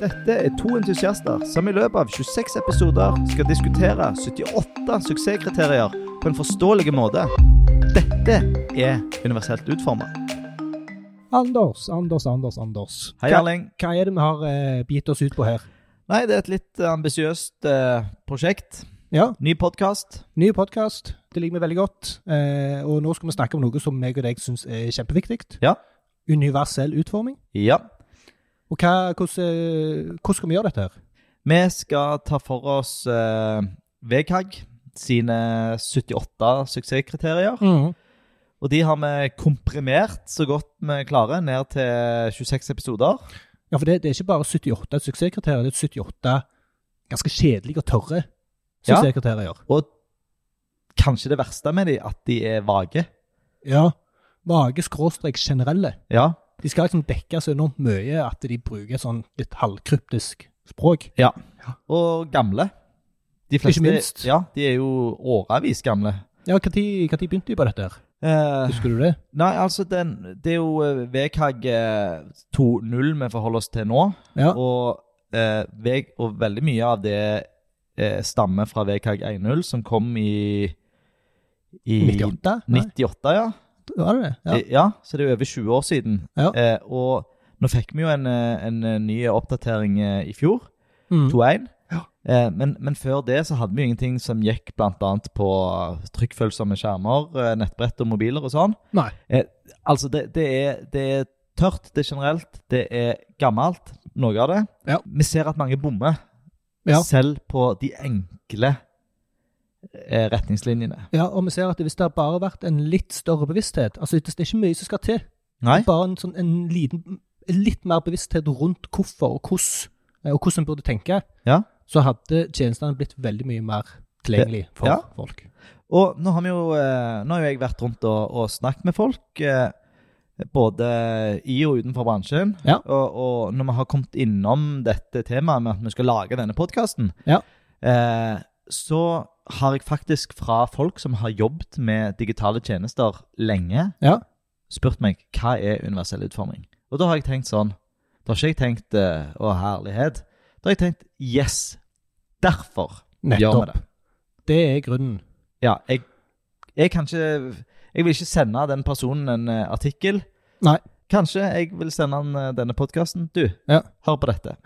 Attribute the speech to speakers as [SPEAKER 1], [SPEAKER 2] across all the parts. [SPEAKER 1] Dette er to entusiaster som i løpet av 26 episoder skal diskutere 78 suksesskriterier på en forståelig måte. Dette er universelt utforma.
[SPEAKER 2] Anders, Anders, Anders, Anders.
[SPEAKER 1] Hei,
[SPEAKER 2] hva,
[SPEAKER 1] Erling.
[SPEAKER 2] hva er det vi har eh, begitt oss ut på her?
[SPEAKER 1] Nei, det er et litt eh, ambisiøst eh, prosjekt.
[SPEAKER 2] Ja,
[SPEAKER 1] Ny podkast.
[SPEAKER 2] ny podkast. Det liker vi veldig godt. Eh, og nå skal vi snakke om noe som meg og deg syns er kjempeviktig.
[SPEAKER 1] Ja.
[SPEAKER 2] Universell utforming.
[SPEAKER 1] Ja.
[SPEAKER 2] Og hva, hvordan, eh, hvordan skal vi gjøre dette her?
[SPEAKER 1] Vi skal ta for oss eh, VKG sine 78 suksesskriterier. Og de har vi komprimert så godt vi klarer, ned til 26 episoder.
[SPEAKER 2] Ja, for det, det er ikke bare 78 suksesskriterier, det er 78 ganske kjedelige og tørre
[SPEAKER 1] Ja.
[SPEAKER 2] suksesskriterier.
[SPEAKER 1] Og kanskje det verste med de, at de er vage.
[SPEAKER 2] Ja. Vage skråstrek generelle.
[SPEAKER 1] Ja.
[SPEAKER 2] De skal liksom dekke så enormt mye at de bruker sånn litt halvkryptisk språk.
[SPEAKER 1] Og gamle. De
[SPEAKER 2] Ikke minst.
[SPEAKER 1] Ja, de er jo årevis gamle.
[SPEAKER 2] Ja, Når begynte de på dette? her?
[SPEAKER 1] Eh,
[SPEAKER 2] Husker du det?
[SPEAKER 1] nei, altså, den, det er jo eh, VKG eh, 2.0 vi forholder oss til nå.
[SPEAKER 2] Ja.
[SPEAKER 1] Og, eh, veg, og veldig mye av det eh, stammer fra VKG 1.0, som kom i, i
[SPEAKER 2] 98? Nei,
[SPEAKER 1] 98, ja.
[SPEAKER 2] var det det? Ja.
[SPEAKER 1] Eh, ja. Så det er jo over 20 år siden.
[SPEAKER 2] Ja.
[SPEAKER 1] Eh, og nå fikk vi jo en, eh, en eh, ny oppdatering eh, i fjor,
[SPEAKER 2] Mm.
[SPEAKER 1] 2.1.
[SPEAKER 2] Ja.
[SPEAKER 1] Eh, men, men før det så hadde vi jo ingenting som gikk bl.a. på trykkfølsomme skjermer, eh, nettbrett og mobiler og sånn.
[SPEAKER 2] Nei.
[SPEAKER 1] Altså, det, det, er, det er tørt, det er generelt, det er gammelt, noe av det.
[SPEAKER 2] Ja.
[SPEAKER 1] Vi ser at mange bommer,
[SPEAKER 2] Ja.
[SPEAKER 1] selv på de enkle eh, retningslinjene.
[SPEAKER 2] Ja, og vi ser at hvis det har bare vært en litt større bevissthet Altså, det er ikke mye som skal til.
[SPEAKER 1] Nei?
[SPEAKER 2] Bare en, sånn, en liten, litt mer bevissthet rundt hvorfor og hvordan, eh, og hvordan en burde tenke,
[SPEAKER 1] Ja.
[SPEAKER 2] så hadde tjenestene blitt veldig mye mer tilgjengelig for
[SPEAKER 1] Ja.
[SPEAKER 2] folk.
[SPEAKER 1] Og nå har, vi jo, eh, nå har jo jeg vært rundt og, og snakket med folk, eh, både i og utenfor bransjen.
[SPEAKER 2] Ja.
[SPEAKER 1] Og, og når vi har kommet innom dette temaet med at vi skal lage denne podkasten,
[SPEAKER 2] Ja.
[SPEAKER 1] eh, så har jeg faktisk fra folk som har jobbet med digitale tjenester lenge,
[SPEAKER 2] Ja.
[SPEAKER 1] spurt meg hva er universell utforming. Og da har jeg tenkt sånn Da har ikke jeg tenkt eh, å herlighet. Da har jeg tenkt yes, derfor gjør vi
[SPEAKER 2] Nettopp.
[SPEAKER 1] det.
[SPEAKER 2] Det er grunnen.
[SPEAKER 1] Ja, jeg, jeg kan ikke Jeg vil ikke sende den personen en eh, artikkel.
[SPEAKER 2] Nei.
[SPEAKER 1] Kanskje jeg vil sende han eh, denne podkasten. Du,
[SPEAKER 2] Ja.
[SPEAKER 1] hør på dette.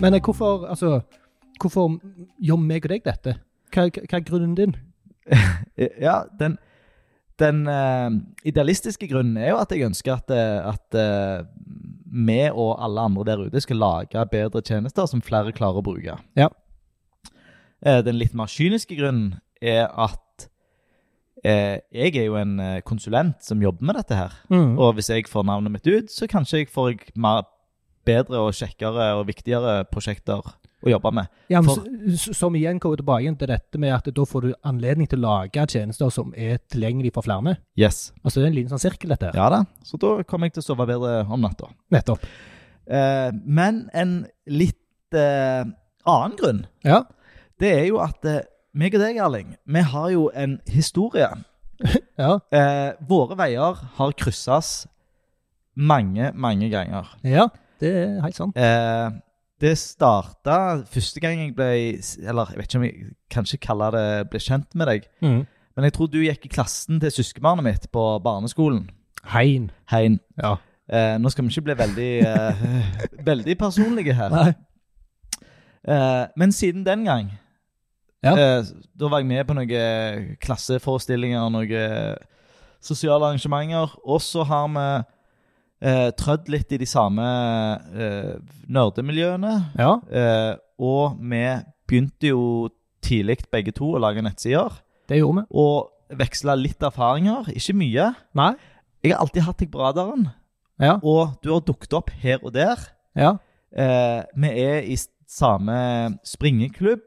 [SPEAKER 2] Men eh, hvorfor, altså, hvorfor gjør meg og deg dette? Hva, hva er grunnen din?
[SPEAKER 1] Eh, Ja, den, den eh, idealistiske grunnen er jo at jeg ønsker at, eh, at eh, vi og alle andre der ute skal lage bedre tjenester som flere klarer å bruke.
[SPEAKER 2] Ja.
[SPEAKER 1] Eh, den litt mer kyniske grunnen er at eh, jeg er jo en eh, konsulent som jobber med dette her.
[SPEAKER 2] Mm.
[SPEAKER 1] Og hvis jeg får navnet mitt ut, så kanskje jeg får jeg mer, bedre og kjekkere og viktigere prosjekter å jobbe med.
[SPEAKER 2] Ja, men
[SPEAKER 1] For-
[SPEAKER 2] s- s- Som igjen går tilbake igjen til dette med at da får du anledning til å lage tjenester som er tilgjengelige for flere.
[SPEAKER 1] Yes.
[SPEAKER 2] Altså Det er en liten sånn sirkel, dette. her.
[SPEAKER 1] Ja da. Så da kommer jeg til å sove bedre om natta.
[SPEAKER 2] Nettopp.
[SPEAKER 1] Eh, men en litt eh, annen grunn,
[SPEAKER 2] Ja.
[SPEAKER 1] det er jo at eh, meg og deg, Erling, vi har jo en historie.
[SPEAKER 2] Ja.
[SPEAKER 1] Eh, våre veier har krysses mange, mange ganger.
[SPEAKER 2] ja. Det er helt sant.
[SPEAKER 1] Eh, det starta første gang jeg ble Eller jeg vet ikke om jeg kanskje kaller det ble kjent med deg.
[SPEAKER 2] Mm.
[SPEAKER 1] Men jeg tror du gikk i klassen til søskenbarnet mitt på barneskolen.
[SPEAKER 2] Hein.
[SPEAKER 1] Hein.
[SPEAKER 2] Ja.
[SPEAKER 1] Eh, nå skal vi ikke bli veldig, eh, veldig personlige her.
[SPEAKER 2] Nei.
[SPEAKER 1] Eh, men siden den gang
[SPEAKER 2] Ja.
[SPEAKER 1] eh, Da var jeg med på noen klasseforestillinger, noen eh, sosiale arrangementer. Og så har vi eh, trødd litt i de samme eh, nerdemiljøene.
[SPEAKER 2] Ja.
[SPEAKER 1] Eh, og vi begynte jo tidlig begge to å lage nettsider.
[SPEAKER 2] Det gjorde vi.
[SPEAKER 1] og veksla litt erfaringer. Ikke mye.
[SPEAKER 2] Nei.
[SPEAKER 1] Jeg har alltid hatt deg på radaren,
[SPEAKER 2] Ja.
[SPEAKER 1] og du har dukket opp her og der.
[SPEAKER 2] Ja.
[SPEAKER 1] Eh, vi er i s- samme springeklubb.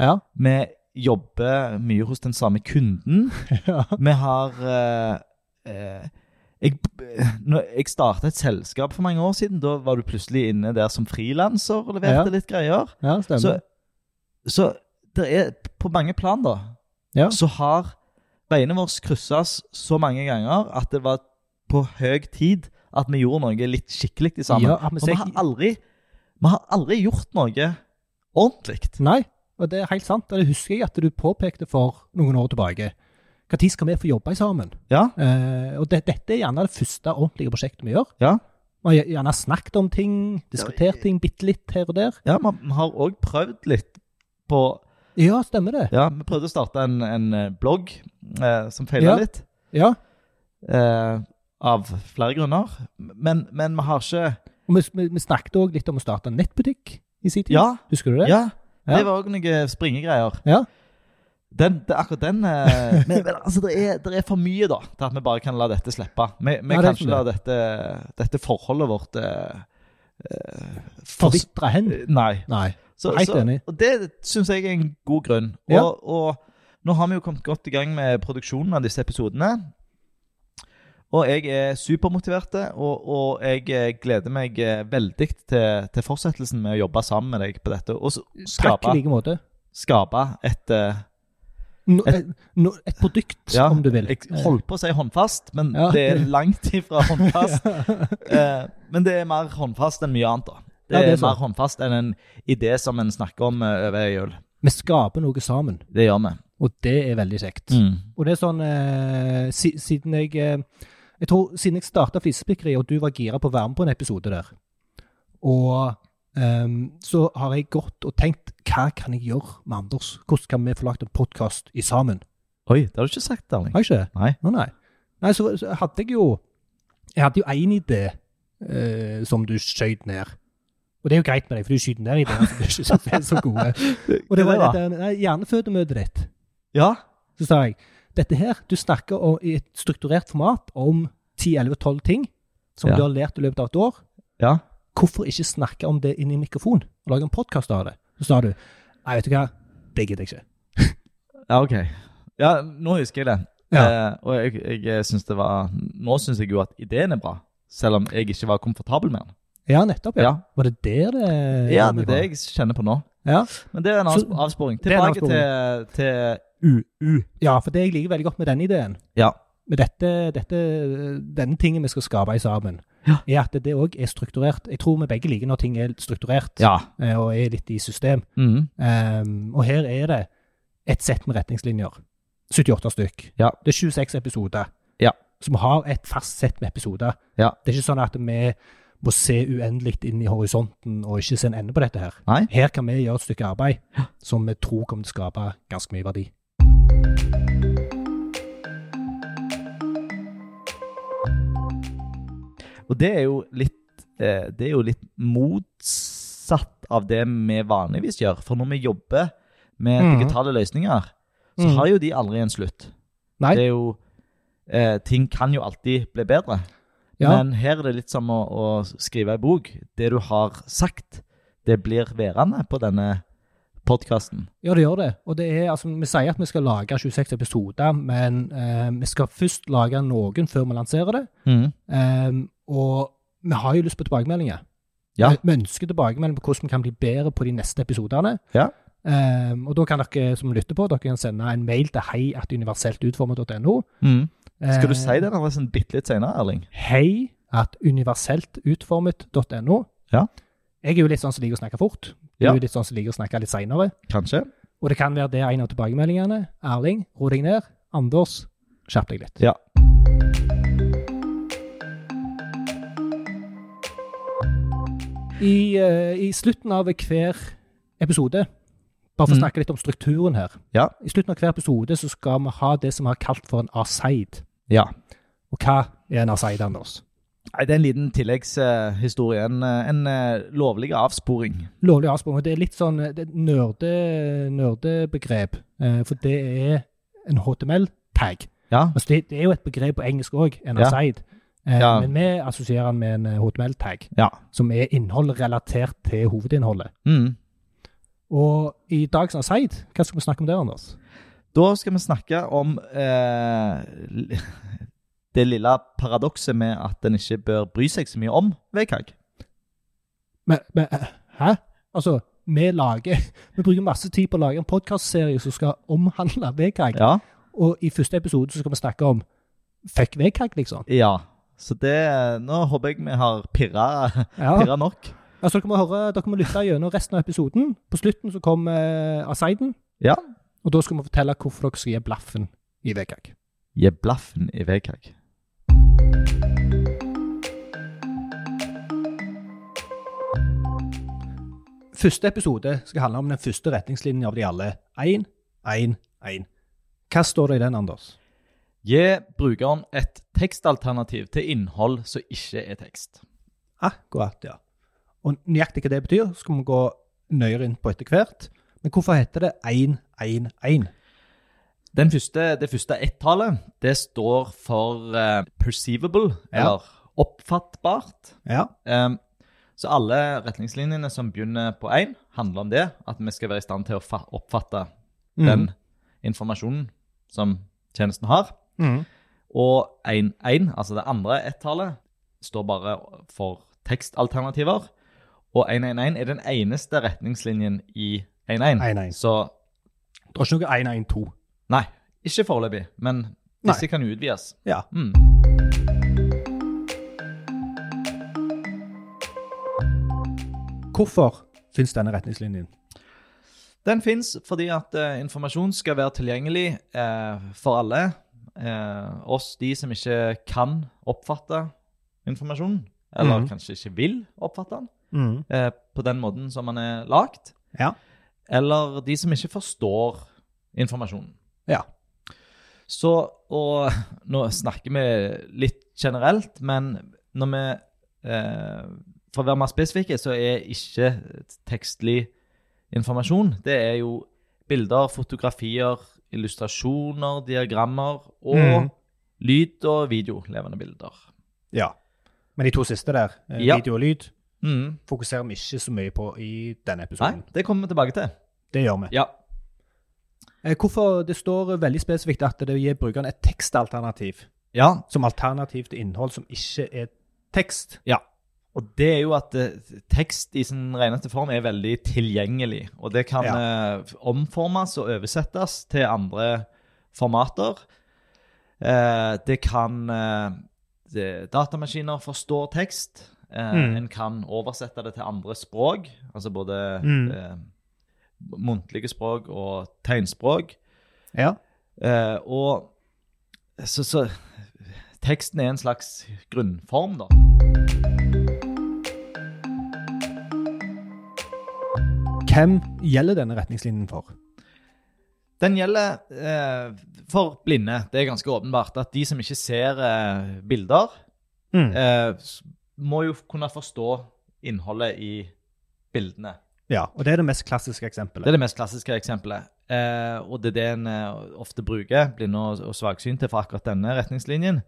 [SPEAKER 2] Ja.
[SPEAKER 1] Vi jobber mye hos den samme kunden.
[SPEAKER 2] Ja.
[SPEAKER 1] Vi har eh, eh, jeg, når jeg starta et selskap for mange år siden. Da var du plutselig inne der som frilanser og leverte
[SPEAKER 2] Ja.
[SPEAKER 1] litt greier.
[SPEAKER 2] ja stemmer.
[SPEAKER 1] Så, så det er på mange plan, da,
[SPEAKER 2] Ja.
[SPEAKER 1] så har veiene våre krysses så mange ganger at det var på høy tid at vi gjorde noe litt skikkelig i sammen.
[SPEAKER 2] Ja, at vi
[SPEAKER 1] For vi
[SPEAKER 2] ser-
[SPEAKER 1] har aldri, vi har aldri gjort noe ordentlig.
[SPEAKER 2] Nei, og det er helt sant. og Det husker jeg at du påpekte for noen år tilbake. Når skal vi få jobbe sammen?
[SPEAKER 1] Ja,
[SPEAKER 2] Eh, og det, dette er gjerne det første ordentlige prosjektet vi gjør.
[SPEAKER 1] Ja.
[SPEAKER 2] Vi har gjerne snakket om ting, diskutert ting bitte litt her og der.
[SPEAKER 1] ja vi vi har òg prøvd litt på
[SPEAKER 2] Ja, stemmer det.
[SPEAKER 1] Ja, vi prøvde å starte en, en blogg eh, som feila
[SPEAKER 2] Ja.
[SPEAKER 1] litt.
[SPEAKER 2] Ja.
[SPEAKER 1] Eh, av flere grunner. Men, men vi har ikke
[SPEAKER 2] Og vi, vi, vi snakket òg litt om å starte en nettbutikk i sin tid.
[SPEAKER 1] Ja,
[SPEAKER 2] Husker du det?
[SPEAKER 1] ja.
[SPEAKER 2] Ja.
[SPEAKER 1] Det var òg noen eh, springegreier.
[SPEAKER 2] Ja.
[SPEAKER 1] Den, det, akkurat den eh, Men, men altså, det er, det er for mye, da, til at vi bare kan la dette slippe. Vi, vi
[SPEAKER 2] Ja, det er
[SPEAKER 1] kan ikke la dette, dette forholdet vårt eh, eh, fors-
[SPEAKER 2] Forvitra hen.
[SPEAKER 1] Nei.
[SPEAKER 2] Nei.
[SPEAKER 1] Så,
[SPEAKER 2] Helt
[SPEAKER 1] så,
[SPEAKER 2] enig.
[SPEAKER 1] og det syns jeg er en god grunn. Og,
[SPEAKER 2] Ja.
[SPEAKER 1] og nå har vi jo kommet godt i gang med produksjonen av disse episodene. Og jeg er supermotiverte, og, og jeg eh, gleder meg eh, veldig til, til fortsettelsen med å jobbe sammen med deg på dette. Og s-
[SPEAKER 2] Takk i
[SPEAKER 1] skape,
[SPEAKER 2] like måte.
[SPEAKER 1] skape et eh,
[SPEAKER 2] No, et, no, et produkt,
[SPEAKER 1] Ja,
[SPEAKER 2] om du vil.
[SPEAKER 1] Jeg holdt på å si håndfast, men
[SPEAKER 2] Eh. Ja.
[SPEAKER 1] det er langt ifra håndfast. Eh, men det er mer håndfast enn mye annet, da. Det er,
[SPEAKER 2] Ja, det er sant.
[SPEAKER 1] mer håndfast enn en idé som en snakker om eh, over jul.
[SPEAKER 2] Vi skaper noe sammen,
[SPEAKER 1] Det gjør vi.
[SPEAKER 2] og det er veldig kjekt.
[SPEAKER 1] Mm.
[SPEAKER 2] Og det er sånn eh, si, Siden jeg eh, Jeg tror siden jeg starta Flisespikkeriet, og du var gira på å være med på en episode der, og ehm, så har jeg gått og tenkt Hva kan jeg gjøre med Anders? Hvordan kan vi få lagt en podkast sammen?
[SPEAKER 1] Oi, det har du ikke sagt, Erling.
[SPEAKER 2] Har jeg ikke det?
[SPEAKER 1] Nei.
[SPEAKER 2] Å, nei. nei så, så hadde jeg jo Jeg hadde jo én idé eh, som du skjøt ned. Og det er jo greit med deg, for du skyter ned ideer som ikke synes er så gode. Og det var
[SPEAKER 1] Hva
[SPEAKER 2] dette nei, hjernefødemøtet ditt.
[SPEAKER 1] Ja.
[SPEAKER 2] Så sa jeg dette her, du snakker om, i et strukturert format om 10-11-12 ting som
[SPEAKER 1] Ja.
[SPEAKER 2] du har lært i løpet av et år.
[SPEAKER 1] ja.
[SPEAKER 2] Hvorfor ikke snakke om det inn i mikrofon og lage en podkast av det? Så sa du nei, vet du hva, det gidder jeg ikke.
[SPEAKER 1] Ja, OK. Ja, nå husker jeg det.
[SPEAKER 2] Ja.
[SPEAKER 1] Eh, og jeg, jeg synes det var Nå syns jeg jo at ideen er bra, selv om jeg ikke var komfortabel med den.
[SPEAKER 2] Ja, nettopp. Ja.
[SPEAKER 1] Ja,
[SPEAKER 2] Var det der det
[SPEAKER 1] ja det er det jeg kjenner på nå.
[SPEAKER 2] Ja.
[SPEAKER 1] Men det er en
[SPEAKER 2] Så-
[SPEAKER 1] avsp- avsporing.
[SPEAKER 2] er en
[SPEAKER 1] Tilbake til, til UU.
[SPEAKER 2] ja, for det jeg liker veldig godt med den ideen,
[SPEAKER 1] Ja.
[SPEAKER 2] med dette, dette, denne tingen vi skal skape i sammen,
[SPEAKER 1] Ja.
[SPEAKER 2] er at det òg er strukturert. Jeg tror vi begge liker når ting er strukturert
[SPEAKER 1] ja.
[SPEAKER 2] eh, og er litt i system.
[SPEAKER 1] Mhm.
[SPEAKER 2] Um, og her er det et sett med retningslinjer. 78 stykk.
[SPEAKER 1] Ja.
[SPEAKER 2] Det er 26 episoder.
[SPEAKER 1] Ja.
[SPEAKER 2] Så vi har et fast sett med episoder.
[SPEAKER 1] Ja.
[SPEAKER 2] Det er ikke sånn at vi må se uendelig inn i horisonten og ikke se en ende på dette her.
[SPEAKER 1] Nei.
[SPEAKER 2] Her kan vi gjøre et stykke arbeid som vi tror kommer til å skape ganske mye verdi.
[SPEAKER 1] Og det er jo litt eh, Det er jo litt motsatt av det vi vanligvis gjør. For når vi jobber med
[SPEAKER 2] Mhm.
[SPEAKER 1] digitale løsninger, så
[SPEAKER 2] Mhm.
[SPEAKER 1] har jo de aldri en slutt.
[SPEAKER 2] Nei.
[SPEAKER 1] Det er jo eh, Ting kan jo alltid bli bedre.
[SPEAKER 2] Ja.
[SPEAKER 1] Men her er det litt som å, å skrive ei bok. Det du har sagt, det blir værende på denne podkasten.
[SPEAKER 2] Ja, det gjør det. Og det er, altså, vi sier at vi skal lage 26 episoder, men eh, vi skal først lage noen før vi lanserer det. Ehm, og vi har jo lyst på tilbakemeldinger.
[SPEAKER 1] Ja.
[SPEAKER 2] Vi- Vi ønsker tilbakemeldinger på hvordan vi kan bli bedre på de neste episodene.
[SPEAKER 1] Ja.
[SPEAKER 2] Ehm, og da kan dere som lytter på, dere kan sende en mail til heiatuniverseltutformet.no.
[SPEAKER 1] Mm. Skal du
[SPEAKER 2] Ehm,
[SPEAKER 1] si den adressen bitte litt seinere, Erling?
[SPEAKER 2] Hei at universeltutformet.no.
[SPEAKER 1] Ja.
[SPEAKER 2] Jeg er jo litt sånn som liker å snakke fort. Du
[SPEAKER 1] Ja.
[SPEAKER 2] er jo litt sånn som liker å snakke litt seinere.
[SPEAKER 1] Kanskje?
[SPEAKER 2] Og det kan være det er en av tilbakemeldingene. Erling, ro deg ned. Anders, skjerp deg litt.
[SPEAKER 1] Ja.
[SPEAKER 2] I, eh, I slutten av hver episode, bare for å
[SPEAKER 1] Mm.
[SPEAKER 2] snakke litt om strukturen her
[SPEAKER 1] Ja.
[SPEAKER 2] I slutten av hver episode så skal vi ha det som vi har kalt for en arseid.
[SPEAKER 1] Ja.
[SPEAKER 2] Og hva er en arseid, Anders?
[SPEAKER 1] Nei, Det er en liten tilleggshistorie. En, eh, en eh, lovlig avsporing.
[SPEAKER 2] Lovlig avsporing. og Det er litt sånn eh, det er et nørde, nerdebegrep, eh, for det er en HTML-tag.
[SPEAKER 1] Ja.
[SPEAKER 2] Altså det, det er jo et begrep på engelsk òg, en
[SPEAKER 1] Ja.
[SPEAKER 2] arseid. Eh,
[SPEAKER 1] Ja.
[SPEAKER 2] Men vi assosierer den med en eh, HTML-tag,
[SPEAKER 1] Ja.
[SPEAKER 2] som er innhold relatert til hovedinnholdet.
[SPEAKER 1] Mm.
[SPEAKER 2] Og i dagens Aseid, hva skal vi snakke om der, Anders?
[SPEAKER 1] Da skal vi snakke om eh, li- det lille paradokset med at en ikke bør bry seg så mye om VKG.
[SPEAKER 2] Men, men eh, hæ? Altså, vi lager Vi bruker masse tid på å lage en podkastserie som skal omhandle VKG,
[SPEAKER 1] Ja.
[SPEAKER 2] og i første episode så skal vi snakke om fuck VKG, liksom.
[SPEAKER 1] ja. Så det, nå håper jeg vi har pirra,
[SPEAKER 2] Ja.
[SPEAKER 1] pirra nok.
[SPEAKER 2] Altså, dere, må høre, dere må lytte gjennom resten av episoden. På slutten så kom eh, Aseiden.
[SPEAKER 1] Ja.
[SPEAKER 2] Og da skal vi fortelle hvorfor dere skal gi blaffen i VKG.
[SPEAKER 1] Gi blaffen i Vegkag.
[SPEAKER 2] Første episode skal handle om den første retningslinjen av de alle. 1, 1, 1. Hva står det i den, Anders?
[SPEAKER 1] Gi brukeren et tekstalternativ til innhold som ikke er tekst.
[SPEAKER 2] Akkurat, ja. Og nøyaktig hva det betyr, skal vi gå nøyere inn på etter hvert. Men hvorfor heter det 1, 1, 1?
[SPEAKER 1] Den første, det første ett-tallet, det står for eh, perceivable,
[SPEAKER 2] Ja.
[SPEAKER 1] eller oppfattbart.
[SPEAKER 2] Ja.
[SPEAKER 1] Em, så alle retningslinjene som begynner på én, handler om det. At vi skal være i stand til å fa- oppfatte den informasjonen som tjenesten har.
[SPEAKER 2] Mm.
[SPEAKER 1] Og 1-1, altså det andre ett-tallet, står bare for tekstalternativer. Og 111 er den eneste retningslinjen i
[SPEAKER 2] 1-1.
[SPEAKER 1] 11. Så
[SPEAKER 2] Det er ikke noe 1, 1, 2.
[SPEAKER 1] nei, ikke foreløpig. Men disse kan jo utvides.
[SPEAKER 2] Ja.
[SPEAKER 1] Mm.
[SPEAKER 2] Hvorfor finnes denne retningslinjen?
[SPEAKER 1] Den fins fordi at eh, informasjon skal være tilgjengelig eh, for alle. Eh, oss, de som ikke kan oppfatte informasjonen, eller
[SPEAKER 2] Mhm.
[SPEAKER 1] kanskje ikke vil oppfatte den eh, på den måten som den er lagd.
[SPEAKER 2] Ja.
[SPEAKER 1] Eller de som ikke forstår informasjonen.
[SPEAKER 2] Ja.
[SPEAKER 1] Så, og nå snakker vi litt generelt, men når vi eh, For å være mer spesifikke, så er ikke tekstlig informasjon Det er jo bilder, fotografier, illustrasjoner, diagrammer og
[SPEAKER 2] Mhm.
[SPEAKER 1] lyd og video. Levende bilder.
[SPEAKER 2] ja. Men de to siste der, eh,
[SPEAKER 1] Ja.
[SPEAKER 2] video og lyd,
[SPEAKER 1] Mhm.
[SPEAKER 2] fokuserer vi ikke så mye på i denne
[SPEAKER 1] Nei,
[SPEAKER 2] episoden.
[SPEAKER 1] det kommer vi tilbake til.
[SPEAKER 2] Det gjør vi.
[SPEAKER 1] Ja.
[SPEAKER 2] Eh, Hvorfor det står veldig spesifikt at det gir brukeren et tekstalternativ
[SPEAKER 1] ja.
[SPEAKER 2] som alternativ til innhold som ikke er tekst?
[SPEAKER 1] Ja. Og det er jo at eh, tekst i sin reneste form er veldig tilgjengelig. Og det kan eh, omformes og oversettes til andre formater. Eh, det kan eh, det, Datamaskiner forstår tekst. Eh,
[SPEAKER 2] Mm.
[SPEAKER 1] En kan oversette det til andre språk, altså både
[SPEAKER 2] Mm.
[SPEAKER 1] eh, muntlige språk og tegnspråk.
[SPEAKER 2] Ja.
[SPEAKER 1] Eh, og så, så teksten er en slags grunnform, da.
[SPEAKER 2] Hvem gjelder denne retningslinjen for?
[SPEAKER 1] Den gjelder eh, for blinde. Det er ganske åpenbart at de som ikke ser eh, bilder, eh, s- må jo kunne forstå innholdet i bildene.
[SPEAKER 2] Ja, og det er det mest klassiske eksempelet.
[SPEAKER 1] Det er det mest klassiske eksempelet. Eh, og det er det en eh, ofte bruker, blinde og, og svaksynte, for akkurat denne retningslinjen.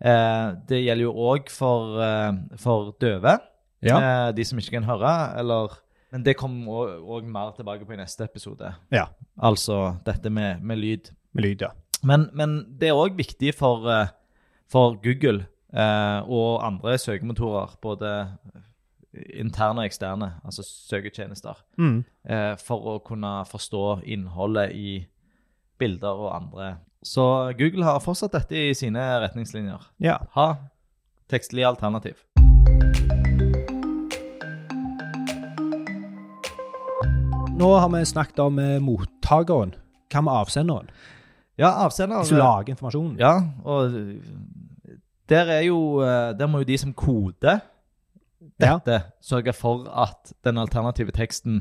[SPEAKER 1] Eh, det gjelder jo òg for, eh, for døve,
[SPEAKER 2] Ja.
[SPEAKER 1] eh, de som ikke kan høre, eller Men det kommer òg mer tilbake på i neste episode.
[SPEAKER 2] ja.
[SPEAKER 1] Altså dette med, med lyd.
[SPEAKER 2] Med lyd, ja.
[SPEAKER 1] Men, men det er òg viktig for, eh, for Google eh, og andre søkemotorer, både interne og eksterne, altså søketjenester, eh, for å kunne forstå innholdet i bilder og andre. Så Google har fortsatt dette i sine retningslinjer.
[SPEAKER 2] Ja.
[SPEAKER 1] Ha tekstlig alternativ.
[SPEAKER 2] Nå har vi snakket om eh, mottakeren. Hva med avsenderen?
[SPEAKER 1] Ja, avsender
[SPEAKER 2] De som lager informasjonen?
[SPEAKER 1] Ja, og der er jo eh, Der må jo de som koder dette, sørge for at den alternative teksten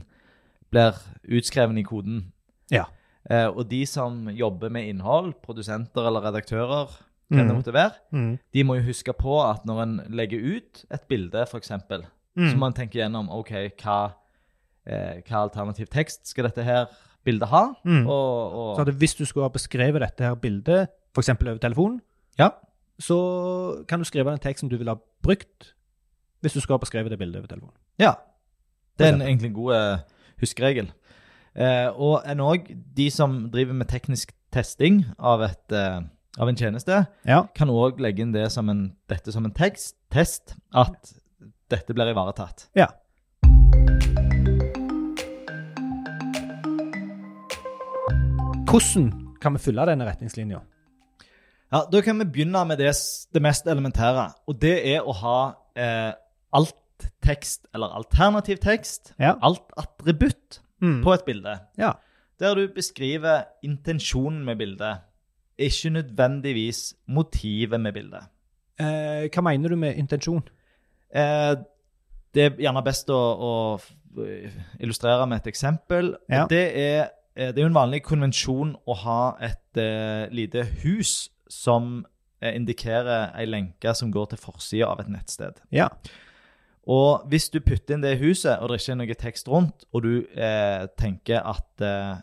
[SPEAKER 1] blir utskreven i koden.
[SPEAKER 2] Ja.
[SPEAKER 1] Eh, og de som jobber med innhold, produsenter eller redaktører, kan det
[SPEAKER 2] Mhm.
[SPEAKER 1] måtte være, de må jo huske på at når en legger ut et bilde, f.eks., så
[SPEAKER 2] Mm.
[SPEAKER 1] må en tenke gjennom OK, hva, eh, hva alternativ tekst skal dette her bildet ha?
[SPEAKER 2] Mm.
[SPEAKER 1] Og, og
[SPEAKER 2] Så at hvis du skulle ha beskrevet dette her bildet, f.eks. over telefonen,
[SPEAKER 1] Ja.
[SPEAKER 2] så kan du skrive den teksten du ville ha brukt hvis du skulle ha beskrevet det bildet over telefonen.
[SPEAKER 1] Ja. Det er en,
[SPEAKER 2] For
[SPEAKER 1] egentlig en god eh, huskeregel. Eh, og en òg de som driver med teknisk testing av, et, eh, av en tjeneste,
[SPEAKER 2] Ja.
[SPEAKER 1] kan òg legge inn det som en, dette som en tekst, test, at dette blir ivaretatt.
[SPEAKER 2] Ja. Hvordan kan vi følge denne retningslinja?
[SPEAKER 1] Ja, Da kan vi begynne med det, s- det mest elementære. Og det er å ha eh, alt tekst, eller alternativ tekst,
[SPEAKER 2] Ja.
[SPEAKER 1] alt attributt
[SPEAKER 2] Mm.
[SPEAKER 1] på et bilde.
[SPEAKER 2] Ja.
[SPEAKER 1] Der du beskriver intensjonen med bildet, ikke nødvendigvis motivet med bildet.
[SPEAKER 2] Eh, hva mener du med intensjon?
[SPEAKER 1] Eh, det er gjerne best å, å illustrere med et eksempel. og
[SPEAKER 2] Ja.
[SPEAKER 1] Det, er, eh, det er jo en vanlig konvensjon å ha et eh, lite hus som eh, indikerer ei lenke som går til forsida av et nettsted.
[SPEAKER 2] Ja.
[SPEAKER 1] Og hvis du putter inn det huset, og det ikke er noe tekst rundt, og du eh, tenker at eh,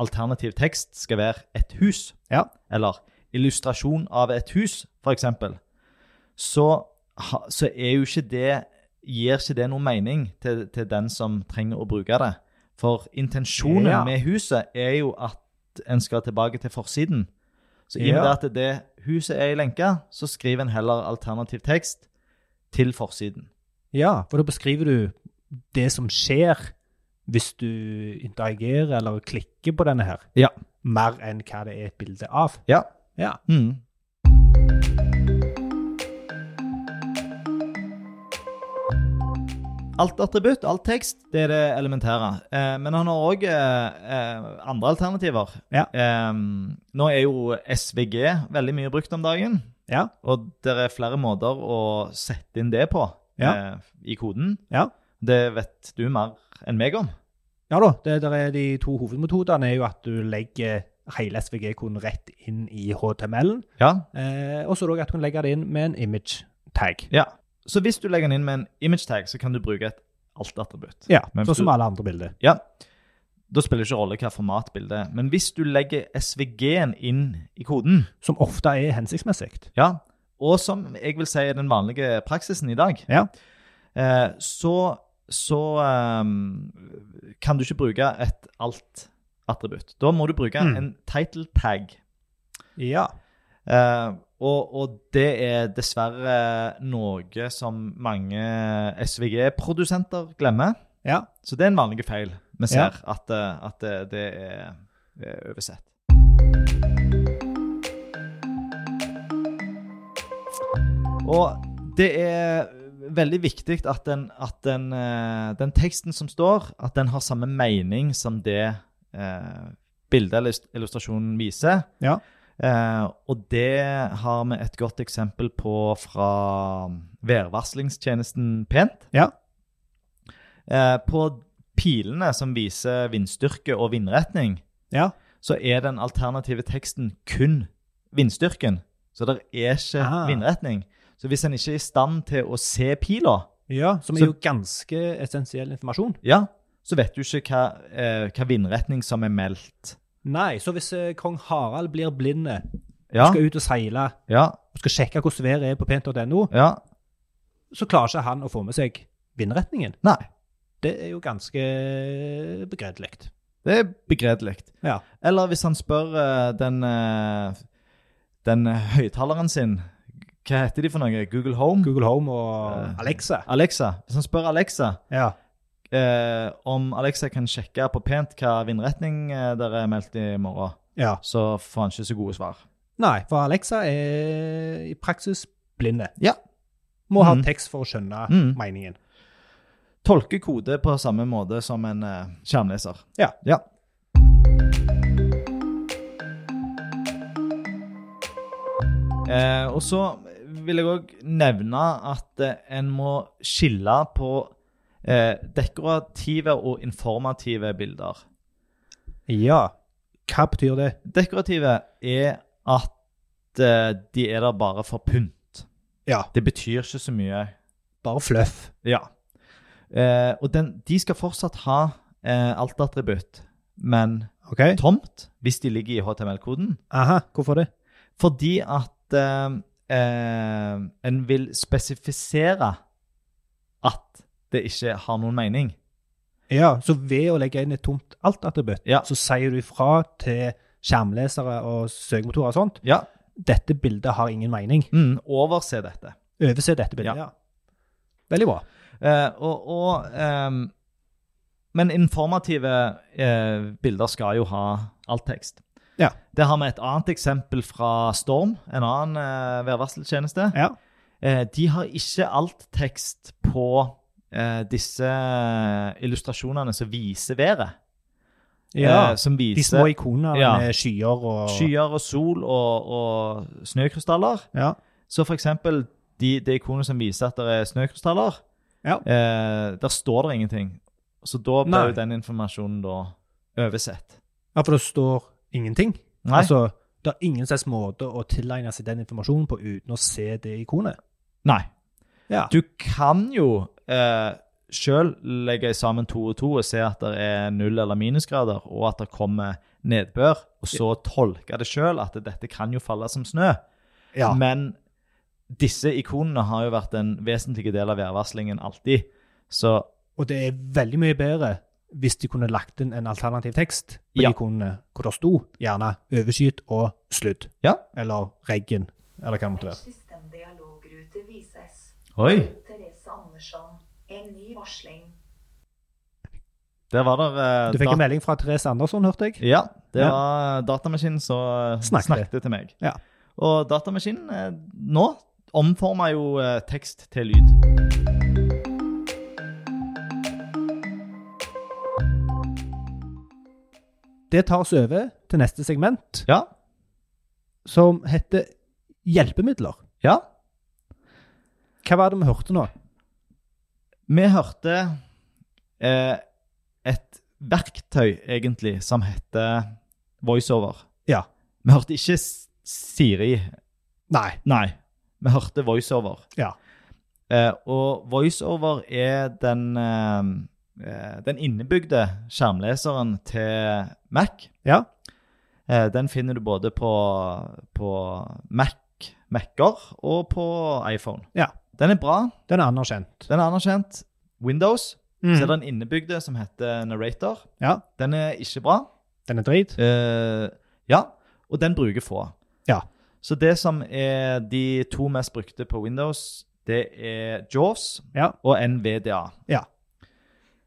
[SPEAKER 1] alternativ tekst skal være et hus,
[SPEAKER 2] Ja.
[SPEAKER 1] eller illustrasjon av et hus, f.eks., så, ha- så er jo ikke det Gir ikke det noen mening til, til den som trenger å bruke det? For intensjonen
[SPEAKER 2] Ja.
[SPEAKER 1] med huset er jo at en skal tilbake til forsiden. Så i og
[SPEAKER 2] Ja.
[SPEAKER 1] med at det huset er i lenka, så skriver en heller alternativ tekst til forsiden.
[SPEAKER 2] Ja, for da beskriver du det som skjer hvis du interagerer eller klikker på denne her,
[SPEAKER 1] Ja.
[SPEAKER 2] mer enn hva det er et bilde av.
[SPEAKER 1] Ja.
[SPEAKER 2] Ja.
[SPEAKER 1] Mm. Alt attributt, alt tekst, det er det elementære. Eh, men han har òg eh, eh, andre alternativer.
[SPEAKER 2] Ja.
[SPEAKER 1] Eh, nå er jo SVG veldig mye brukt om dagen,
[SPEAKER 2] Ja.
[SPEAKER 1] og det er flere måter å sette inn det på
[SPEAKER 2] Ja.
[SPEAKER 1] eh, i koden.
[SPEAKER 2] Ja.
[SPEAKER 1] Det vet du mer enn meg om.
[SPEAKER 2] Ja da, det der er de to hovedmetodene er jo at du legger hele SVG-koden rett inn i HTML-en,
[SPEAKER 1] Ja.
[SPEAKER 2] eh, og så er det også at du kan legge det inn med en image tag.
[SPEAKER 1] ja. Så hvis du legger den inn med en image tag, så kan du bruke et alt-attributt.
[SPEAKER 2] Ja,
[SPEAKER 1] Men
[SPEAKER 2] sånn
[SPEAKER 1] du-
[SPEAKER 2] som alle andre bilder.
[SPEAKER 1] Ja, da spiller det ikke rolle hva format bildet er. Men hvis du legger SVG-en inn i koden,
[SPEAKER 2] Som ofte er hensiktsmessig.
[SPEAKER 1] ja, og som jeg vil si er den vanlige praksisen i dag,
[SPEAKER 2] Ja.
[SPEAKER 1] eh, så, så eh, kan du ikke bruke et alt-attributt. Da må du bruke
[SPEAKER 2] Mm.
[SPEAKER 1] en title tag.
[SPEAKER 2] Ja.
[SPEAKER 1] Eh, og, og det er dessverre noe som mange SVG-produsenter glemmer.
[SPEAKER 2] Ja.
[SPEAKER 1] Så det er en vanlig feil vi ser, at, eh, at det, det er eh, oversett. Og det er veldig viktig at, den, at den, eh, den teksten som står, at den har samme mening som det eh, bildet eller illust- illustrasjonen viser.
[SPEAKER 2] Ja.
[SPEAKER 1] Eh, og det har vi et godt eksempel på fra værvarslingstjenesten Pent.
[SPEAKER 2] Ja.
[SPEAKER 1] Eh, på pilene som viser vindstyrke og vindretning,
[SPEAKER 2] Ja.
[SPEAKER 1] så er den alternative teksten kun vindstyrken. Så det er ikke
[SPEAKER 2] Ah.
[SPEAKER 1] vindretning. Så hvis en ikke er i stand til å se pila,
[SPEAKER 2] ja som
[SPEAKER 1] Så-
[SPEAKER 2] er jo ganske essensiell informasjon.
[SPEAKER 1] ja, så vet du ikke hva, eh, hva vindretning som er meldt.
[SPEAKER 2] Nei, så hvis eh, kong Harald blir blinde,
[SPEAKER 1] Ja,
[SPEAKER 2] skal ut og seile,
[SPEAKER 1] ja,
[SPEAKER 2] og skal sjekke hvordan været er på pent.no,
[SPEAKER 1] ja.
[SPEAKER 2] så klarer ikke han å få med seg vindretningen.
[SPEAKER 1] Nei.
[SPEAKER 2] Det er jo ganske begredelig.
[SPEAKER 1] Det er begredelig.
[SPEAKER 2] Ja.
[SPEAKER 1] Eller hvis han spør eh, den, eh, den eh, høyttaleren sin Hva heter de for noe? Google Home?
[SPEAKER 2] Google Home og
[SPEAKER 1] Eh.
[SPEAKER 2] Alexa.
[SPEAKER 1] Alexa. Hvis han spør Alexa
[SPEAKER 2] Ja.
[SPEAKER 1] eh, om Alexa kan sjekke på pent hva vindretning eh, dere er meldt i morgen,
[SPEAKER 2] ja.
[SPEAKER 1] så får han ikke så gode svar.
[SPEAKER 2] Nei, for Alexa er i praksis blinde.
[SPEAKER 1] Ja.
[SPEAKER 2] Må ha
[SPEAKER 1] Mhm.
[SPEAKER 2] tekst for å skjønne
[SPEAKER 1] Mhm.
[SPEAKER 2] meningen.
[SPEAKER 1] Tolke kode på samme måte som en eh, skjermleser.
[SPEAKER 2] Ja.
[SPEAKER 1] ja. Eh, og så vil jeg òg nevne at eh, en må skille på eh, dekorative og informative bilder.
[SPEAKER 2] Ja. Hva betyr det?
[SPEAKER 1] Dekorative er at eh, de er der bare for pynt.
[SPEAKER 2] Ja.
[SPEAKER 1] Det betyr ikke så mye.
[SPEAKER 2] Bare fluff.
[SPEAKER 1] Ja. Eh, og den, de skal fortsatt ha eh, alt-attributt, men
[SPEAKER 2] OK?
[SPEAKER 1] tomt hvis de ligger i HTML-koden.
[SPEAKER 2] Aha, hvorfor det?
[SPEAKER 1] Fordi at eh, eh, en vil spesifisere at det ikke har noen mening.
[SPEAKER 2] Ja, så ved å legge inn et tomt alt-attributt,
[SPEAKER 1] Ja.
[SPEAKER 2] så sier du ifra til skjermlesere og søkemotorer og sånt
[SPEAKER 1] Ja.
[SPEAKER 2] dette bildet har ingen mening.
[SPEAKER 1] Mm, overse dette.
[SPEAKER 2] Overse dette bildet.
[SPEAKER 1] Ja.
[SPEAKER 2] Ja. Veldig bra.
[SPEAKER 1] Eh, og, og ehm, eh, Men informative eh, bilder skal jo ha alt tekst.
[SPEAKER 2] Ja.
[SPEAKER 1] Der har vi et annet eksempel fra Storm, en annen eh, værvarseltjeneste.
[SPEAKER 2] Ja.
[SPEAKER 1] Eh, de har ikke alt tekst på eh, disse eh, illustrasjonene som viser været. Eh, som
[SPEAKER 2] De
[SPEAKER 1] viser
[SPEAKER 2] små ikonene
[SPEAKER 1] Ja.
[SPEAKER 2] med skyer og
[SPEAKER 1] skyer og sol og, og snøkrystaller.
[SPEAKER 2] Ja.
[SPEAKER 1] Så for eksempel de, det ikonet som viser at det er snøkrystaller,
[SPEAKER 2] Ja.
[SPEAKER 1] eh, der står det ingenting. Så da
[SPEAKER 2] Nei.
[SPEAKER 1] blir jo den informasjonen da oversett.
[SPEAKER 2] ja, for det står ingenting.
[SPEAKER 1] Nei,
[SPEAKER 2] Altså, det er ingen slags måte å tilegne seg den informasjonen på uten å se det ikonet.
[SPEAKER 1] nei.
[SPEAKER 2] Ja.
[SPEAKER 1] Du kan jo eh, sjøl legge sammen to og to og se at det er null- eller minusgrader, og at det kommer nedbør, og så tolke det sjøl at dette kan jo falle som snø.
[SPEAKER 2] ja.
[SPEAKER 1] Men disse ikonene har jo vært en vesentlig del av værvarslingen alltid. Så
[SPEAKER 2] Og det er veldig mye bedre hvis de kunne lagt inn en alternativ tekst på
[SPEAKER 1] Ja.
[SPEAKER 2] ikonene, hvor det sto gjerne overskyet og sludd.
[SPEAKER 1] Ja.
[SPEAKER 2] Eller regn, eller hva det måtte være.
[SPEAKER 3] System dialogrute vises.
[SPEAKER 1] Oi!
[SPEAKER 3] Therese Andersson. En ny varsling.
[SPEAKER 1] Der var der eh,
[SPEAKER 2] Du fikk
[SPEAKER 1] dat-
[SPEAKER 2] en melding fra Therese Andersson, hørte jeg.
[SPEAKER 1] Ja, det
[SPEAKER 2] Ja.
[SPEAKER 1] var eh, datamaskinen som eh,
[SPEAKER 2] Snakket.
[SPEAKER 1] snakket til meg.
[SPEAKER 2] Ja.
[SPEAKER 1] Og datamaskinen eh, nå omformer jo eh, tekst til lyd.
[SPEAKER 2] Det tar oss over til neste segment,
[SPEAKER 1] Ja.
[SPEAKER 2] som heter hjelpemidler.
[SPEAKER 1] ja.
[SPEAKER 2] Hva var det vi hørte nå?
[SPEAKER 1] Vi hørte eh, et verktøy, egentlig, som heter voiceover.
[SPEAKER 2] Ja.
[SPEAKER 1] Vi hørte ikke S- Siri.
[SPEAKER 2] Nei.
[SPEAKER 1] Nei, vi hørte voiceover.
[SPEAKER 2] Ja.
[SPEAKER 1] Eh, og voiceover er den, eh, eh, den innebygde skjermleseren til Mac.
[SPEAKER 2] Ja.
[SPEAKER 1] Eh, den finner du både på, på Mac, Mac-er og på iPhone.
[SPEAKER 2] Ja.
[SPEAKER 1] Den er bra.
[SPEAKER 2] Den er anerkjent.
[SPEAKER 1] Den er anerkjent. Windows. Så er det en innebygde som heter Narrator.
[SPEAKER 2] Mm. Ja.
[SPEAKER 1] Den er ikke bra.
[SPEAKER 2] Den er drit.
[SPEAKER 1] Eh, ja, og den bruker få.
[SPEAKER 2] Ja.
[SPEAKER 1] Så det som er de to mest brukte på Windows, det er Jaws
[SPEAKER 2] Ja.
[SPEAKER 1] og NVDA.
[SPEAKER 2] Ja.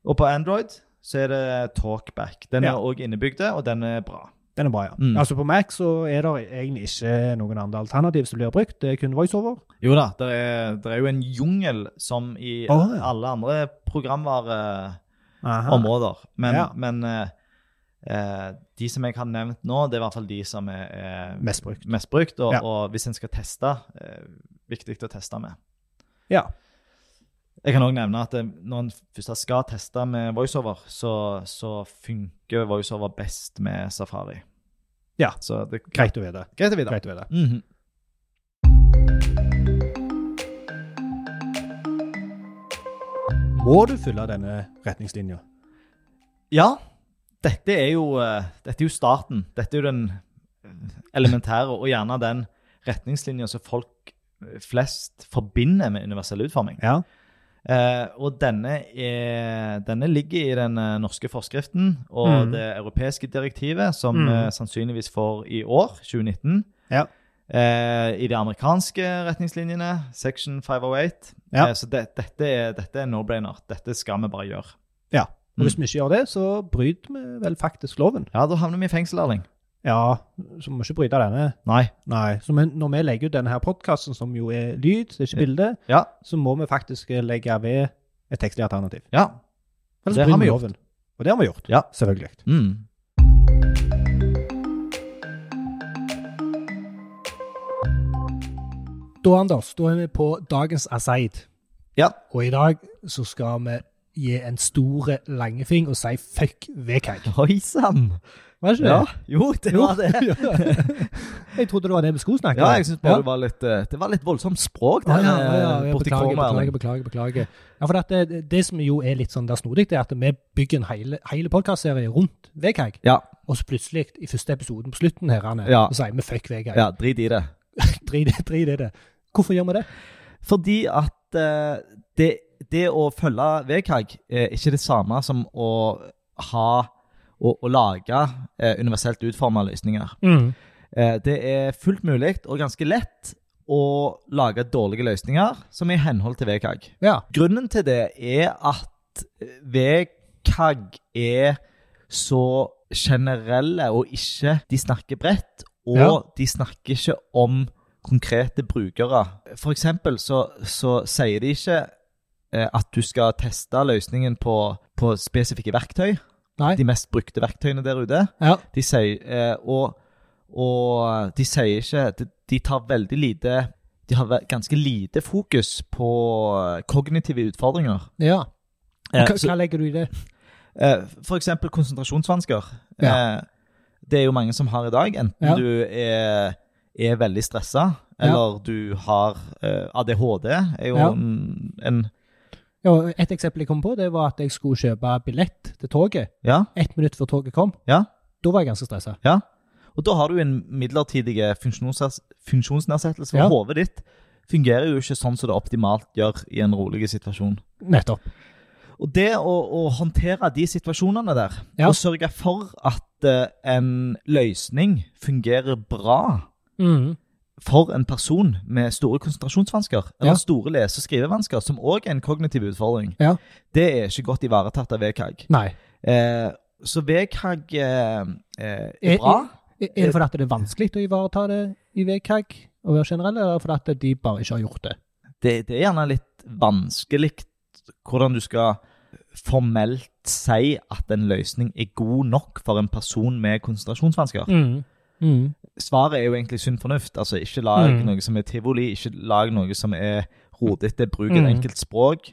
[SPEAKER 1] Og på Android så er det Talkback. Den
[SPEAKER 2] Ja.
[SPEAKER 1] er òg innebygde, og den er bra.
[SPEAKER 2] Den er bra, ja.
[SPEAKER 1] Mm.
[SPEAKER 2] Altså På Mac så er det egentlig ikke noen andre alternativ som blir brukt. Det er kun voiceover.
[SPEAKER 1] Jo da, det er, der er jo en jungel som i
[SPEAKER 2] Å, ja.
[SPEAKER 1] alle andre programvareområder.
[SPEAKER 2] Aha.
[SPEAKER 1] Men,
[SPEAKER 2] Ah. Ja.
[SPEAKER 1] men eh, eh, de som jeg har nevnt nå, det er i hvert fall de som er, er
[SPEAKER 2] Mest brukt.
[SPEAKER 1] mest brukt, og,
[SPEAKER 2] Ja.
[SPEAKER 1] og hvis en skal teste, eh, viktig å teste med.
[SPEAKER 2] Ja.
[SPEAKER 1] Jeg kan også nevne at eh, når en først skal teste med voiceover, så, så funker voiceover best med Safari.
[SPEAKER 2] Ja.
[SPEAKER 1] Så det er
[SPEAKER 2] Greit å vite.
[SPEAKER 1] greit å vite.
[SPEAKER 2] Greit å vite.
[SPEAKER 1] Mhm.
[SPEAKER 2] Må du følge denne retningslinja?
[SPEAKER 1] Ja, dette er, jo, eh, dette er jo starten. Dette er jo den eh, elementære, og gjerne den retningslinja som folk eh, flest forbinder med universell utforming.
[SPEAKER 2] Ja.
[SPEAKER 1] Eh, og denne, er, denne ligger i den eh, norske forskriften og
[SPEAKER 2] Mm.
[SPEAKER 1] det europeiske direktivet, som
[SPEAKER 2] Mm.
[SPEAKER 1] eh, sannsynligvis får i år, 2019.
[SPEAKER 2] Ja.
[SPEAKER 1] Eh, I de amerikanske retningslinjene, section 508.
[SPEAKER 2] Ja.
[SPEAKER 1] Eh, så det, dette er, dette er no-brainer. Dette skal vi bare gjøre.
[SPEAKER 2] ja. Og hvis
[SPEAKER 1] Mm.
[SPEAKER 2] vi ikke gjør det, så bryter vi vel faktisk loven.
[SPEAKER 1] Ja, da havner vi i fengsel, Erling.
[SPEAKER 2] Ja, så vi må ikke bryte denne.
[SPEAKER 1] Nei.
[SPEAKER 2] Nei. Så men når vi legger ut denne her podkasten, som jo er lyd, det er ikke bilde,
[SPEAKER 1] Ja.
[SPEAKER 2] så må vi faktisk eh, legge ved et tekstlig alternativ.
[SPEAKER 1] Ja.
[SPEAKER 2] Ellers
[SPEAKER 1] Det
[SPEAKER 2] bryter
[SPEAKER 1] har vi
[SPEAKER 2] vi
[SPEAKER 1] gjort.
[SPEAKER 2] loven. Og det har vi gjort.
[SPEAKER 1] Ja.
[SPEAKER 2] Selvfølgelig.
[SPEAKER 1] Mm.
[SPEAKER 2] Da, Anders, da er vi på dagens Aseid.
[SPEAKER 1] Ja.
[SPEAKER 2] Og i dag så skal vi gi en store langefing og si fuck Vekag.
[SPEAKER 1] Oi sann!
[SPEAKER 2] Var det
[SPEAKER 1] Ja. Jo, det var det.
[SPEAKER 2] jeg trodde det var det vi skulle snakke
[SPEAKER 1] Ja, jeg syns bare
[SPEAKER 2] Ja.
[SPEAKER 1] det var litt eh, Det var litt voldsomt språk
[SPEAKER 2] Ja,
[SPEAKER 1] der
[SPEAKER 2] ja, ja, ja,
[SPEAKER 1] eh,
[SPEAKER 2] jeg
[SPEAKER 1] borti
[SPEAKER 2] beklager,
[SPEAKER 1] kornet,
[SPEAKER 2] beklager,
[SPEAKER 1] Erling.
[SPEAKER 2] beklager. beklager. Ja, for at det, det som jo er litt sånn der snodig, det er at vi bygger en hele, hele podkastserie rundt Vekag,
[SPEAKER 1] Ja,
[SPEAKER 2] og så plutselig, i første episoden på slutten her, Anne,
[SPEAKER 1] Ja.
[SPEAKER 2] så sier vi fuck Vekag.
[SPEAKER 1] ja, drit i det.
[SPEAKER 2] Drit i- drit i det. Hvorfor gjør vi det?
[SPEAKER 1] Fordi at eh, det, det å følge VKG er ikke det samme som å ha å, å lage eh, universelt utforma løsninger. Eh, det er fullt mulig og ganske lett å lage dårlige løsninger som er i henhold til VKG.
[SPEAKER 2] Ja.
[SPEAKER 1] Grunnen til det er at VKG er så generelle og ikke De snakker bredt, og
[SPEAKER 2] Ja.
[SPEAKER 1] de snakker ikke om konkrete brukere. For eksempel så, så sier de ikke eh, at du skal teste løsningen på, på spesifikke verktøy.
[SPEAKER 2] Nei.
[SPEAKER 1] De mest brukte verktøyene der ute.
[SPEAKER 2] Ja.
[SPEAKER 1] De sier, eh, og, og de sier ikke de, de tar veldig lite De har ve- ganske lite fokus på eh, kognitive utfordringer.
[SPEAKER 2] ja.
[SPEAKER 1] Eh,
[SPEAKER 2] Hva,
[SPEAKER 1] så-
[SPEAKER 2] hva legger du i det?
[SPEAKER 1] Eh, For eksempel konsentrasjonsvansker.
[SPEAKER 2] Ja.
[SPEAKER 1] Eh, Det er jo mange som har i dag. Enten
[SPEAKER 2] Ja.
[SPEAKER 1] du er, er veldig stressa, eller du har eh, ADHD. er jo
[SPEAKER 2] Ja.
[SPEAKER 1] en, en
[SPEAKER 2] Ja, et eksempel jeg kom på, det var at jeg skulle kjøpe billett til toget.
[SPEAKER 1] Ja.
[SPEAKER 2] Ett minutt før toget kom.
[SPEAKER 1] ja.
[SPEAKER 2] Da var jeg ganske stressa.
[SPEAKER 1] Ja. Og da har du en midlertidig funksjons- funksjonsnedsettelse. For
[SPEAKER 2] Ja.
[SPEAKER 1] hodet ditt fungerer jo ikke sånn som det optimalt gjør i en rolig situasjon.
[SPEAKER 2] Nettopp.
[SPEAKER 1] Og det å, å håndtere de situasjonene der,
[SPEAKER 2] Ja.
[SPEAKER 1] og sørge for at eh, en løsning fungerer bra Mm.
[SPEAKER 2] Mhm.
[SPEAKER 1] for en person med store konsentrasjonsvansker, eller
[SPEAKER 2] Ja.
[SPEAKER 1] store lese- og skrivevansker, som òg er en kognitiv utfordring,
[SPEAKER 2] Ja.
[SPEAKER 1] det er ikke godt ivaretatt av VKG.
[SPEAKER 2] Nei.
[SPEAKER 1] Eh, så VKG eh, eh,
[SPEAKER 2] Er-
[SPEAKER 1] er bra.
[SPEAKER 2] Er er
[SPEAKER 1] Eh,
[SPEAKER 2] det fordi at det er vanskelig å ivareta det i VKG og være generell, eller er det fordi at de bare ikke har gjort det?
[SPEAKER 1] det, det er gjerne litt vanskelig hvordan du skal formelt si at en løsning er god nok for en person med konsentrasjonsvansker.
[SPEAKER 2] Mm.
[SPEAKER 1] Svaret er jo egentlig sunn fornuft. Altså, ikke lag
[SPEAKER 2] Mm.
[SPEAKER 1] noe som er tivoli, ikke lag noe som er rodete, bruk et
[SPEAKER 2] Mm.
[SPEAKER 1] enkelt språk.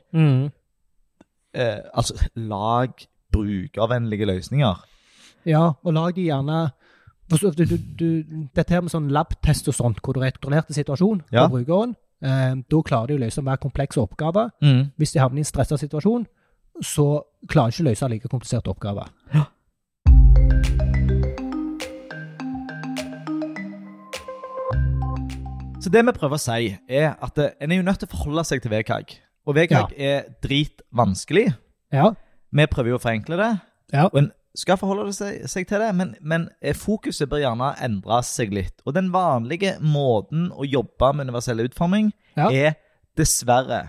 [SPEAKER 1] Eh, altså, lag brukervennlige løsninger.
[SPEAKER 2] Ja, og lag de gjerne for så- du, du, du, Dette her med sånn labtest og sånt, hvor du er i kontrollerte situasjon for
[SPEAKER 1] Ja.
[SPEAKER 2] brukeren, eh, da klarer de å løse hver komplekse oppgave. Hvis de havner i en stressa situasjon, så klarer de ikke å løse like kompliserte oppgaver.
[SPEAKER 1] Så det vi prøver å si, er at eh, en er jo nødt til å forholde seg til VKG. Og VKG er dritvanskelig.
[SPEAKER 2] Ja,
[SPEAKER 1] Vi prøver jo å forenkle det.
[SPEAKER 2] Ja.
[SPEAKER 1] Og en skal forholde seg, seg til det, men, men eh, fokuset bør gjerne endre seg litt. Og den vanlige måten å jobbe med universell utforming
[SPEAKER 2] Ja.
[SPEAKER 1] er dessverre